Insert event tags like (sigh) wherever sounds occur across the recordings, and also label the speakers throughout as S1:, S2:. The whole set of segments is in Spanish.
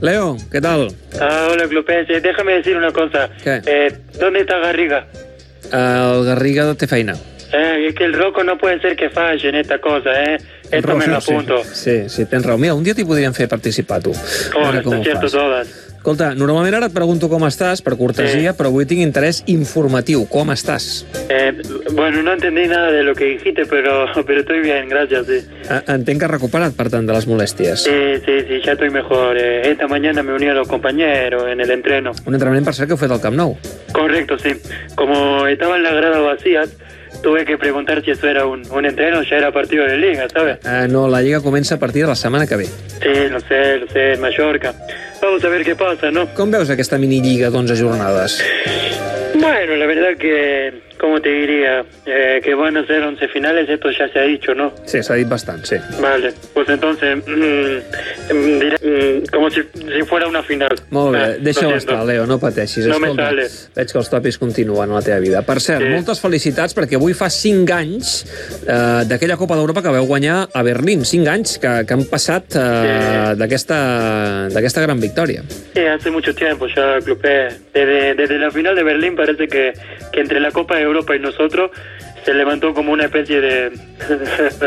S1: Leo, ¿qué tal?
S2: ¿Eh? Ah, hola, Clupense. Déjame decir una cosa.
S1: ¿Qué?
S2: Eh, ¿Dónde está Garriga?
S1: El Garriga de feina.
S2: Eh, es que el roco no puede ser que falle en esta cosa, ¿eh? Esto me lo apunto.
S1: Sí, sí, tens raó. Mira, un dia t'hi podríem fer participar, tu. A
S2: Oh,
S1: veure com
S2: están
S1: ho
S2: cierto
S1: fas.
S2: todas.
S1: Escolta, normalment ara et pregunto com estàs, per cortesia, però avui tinc interès informatiu. Com estàs?
S2: Eh, bueno, no entendí nada de lo que dijiste, pero, (laughs) pero estoy bien, gracias. Sí,
S1: A- Eh, Entenc que has recuperat, per tant, de les molèsties.
S2: sí, sí, sí, ya estoy mejor. Eh, esta mañana me uní a los compañeros en el entreno.
S1: Un entrenament, per cert, que heu fet al Camp Nou.
S2: Correcto, sí. Como estaban las gradas vacías, tuve que preguntar si eso era un, un entreno, ya era partido de liga, ¿sabes?
S1: Eh, no, la Lliga comença a partir de la setmana que ve.
S2: Sí, lo sé, lo sé, Mallorca. Vamos a ver qué pasa, ¿no?
S1: Com veus aquesta minilliga d'11 jornades?
S2: Bueno, la verdad que, ¿cómo te diría? Eh, que van a ser 11 finales, esto ya se ha dicho, ¿no?
S1: Sí, s'ha dit bastant, sí.
S2: Vale, pues entonces, mm, mm, diré, mm, como si, si fuera una final.
S1: Molt bé,
S2: Ah,
S1: deixa-ho
S2: lo siento.
S1: estar, Leo, no pateixis.
S2: No me
S1: Escolta,
S2: sale.
S1: veig que els tòpics continuen a la teva vida. Per cert,
S2: Sí.
S1: moltes felicitats perquè avui fa 5 anys eh, d'aquella Copa d'Europa que veu guanyar a Berlín. 5 anys que, que han passat eh, d'aquesta d'aquesta gran victòria.
S2: Sí, hace mucho tiempo ya clubé. Desde, desde la final de Berlín parece que, que entre la Copa de Europa y nosotros se levantó como una especie de (laughs)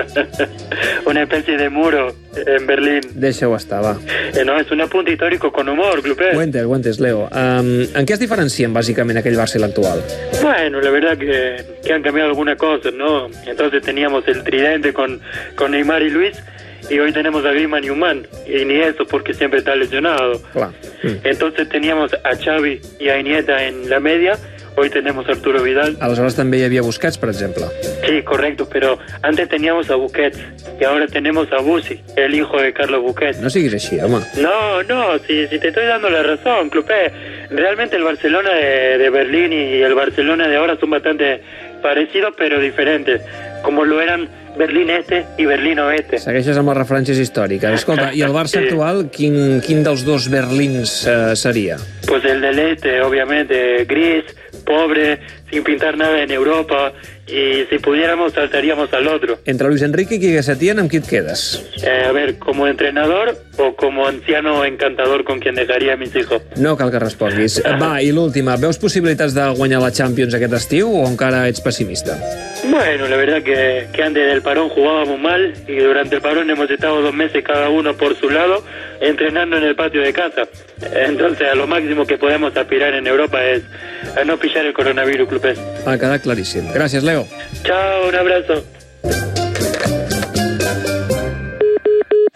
S2: una especie de muro en Berlín.
S1: Deixa-ho estar, va.
S2: Eh, no, es un apunte histórico con humor, clubé.
S1: Ho
S2: Bueno.
S1: entes, ho entes, Leo. Um, en què es diferencien, bàsicament, aquell Barça i l'actual?
S2: la verdad que, que han cambiado algunas cosas, ¿no? Entonces teníamos el tridente con, con Neymar y Luis y hoy tenemos a Griezmann y Humán. Y ni eso porque siempre está lesionado.
S1: Clar. Mm.
S2: Entonces teníamos a Xavi y a Iniesta en la media, hoy tenemos a Arturo Vidal.
S1: Aleshores també hi havia Busquets, per exemple.
S2: Sí, correcto, pero antes teníamos a Busquets y ahora tenemos a Busi, el hijo de Carlos Busquets.
S1: No siguis així, home.
S2: No, no, si, si te estoy dando la razón, Clupé. Realmente el Barcelona de, de Berlín y el Barcelona de ahora son bastante parecidos pero diferentes, como lo eran Berlín Este y Berlín Oeste.
S1: Segueixes amb les referències històriques. Escolta, i el Barça actual, quin, quin dels dos Berlins eh, seria?
S2: Pues el del este, obviamente, gris, pobre, sin pintar nada en Europa, y si pudiéramos saltaríamos al otro.
S1: Entre Luis Enrique i Quique Setién, amb qui et quedes?
S2: Eh, a ver, como entrenador o como anciano encantador con quien dejaría a mis hijos.
S1: No cal que responguis. Va, i l'última. Veus possibilitats de guanyar la Champions aquest estiu o encara ets pessimista?
S2: Bueno, la verdad que, que antes del parón jugábamos mal y durante el parón hemos estado dos meses cada uno por su lado entrenando en el patio de casa. Entonces, a lo máximo que podemos aspirar en Europa es a no pillar el coronavirus, clubes.
S1: Ha quedat claríssim. Gràcies, Leo.
S2: Chao, un abrazo.